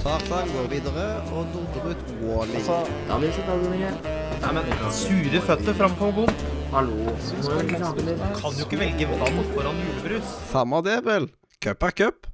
Tarzan går videre og dundrer ut Wally. Altså, da blir det så kaldt lenger. Nei, men Sure føtter framfor god. Hallo. Må jo ikke ha det litt. Kan jo ikke velge vann foran julebrus. Samme det, vel. Cup er cup.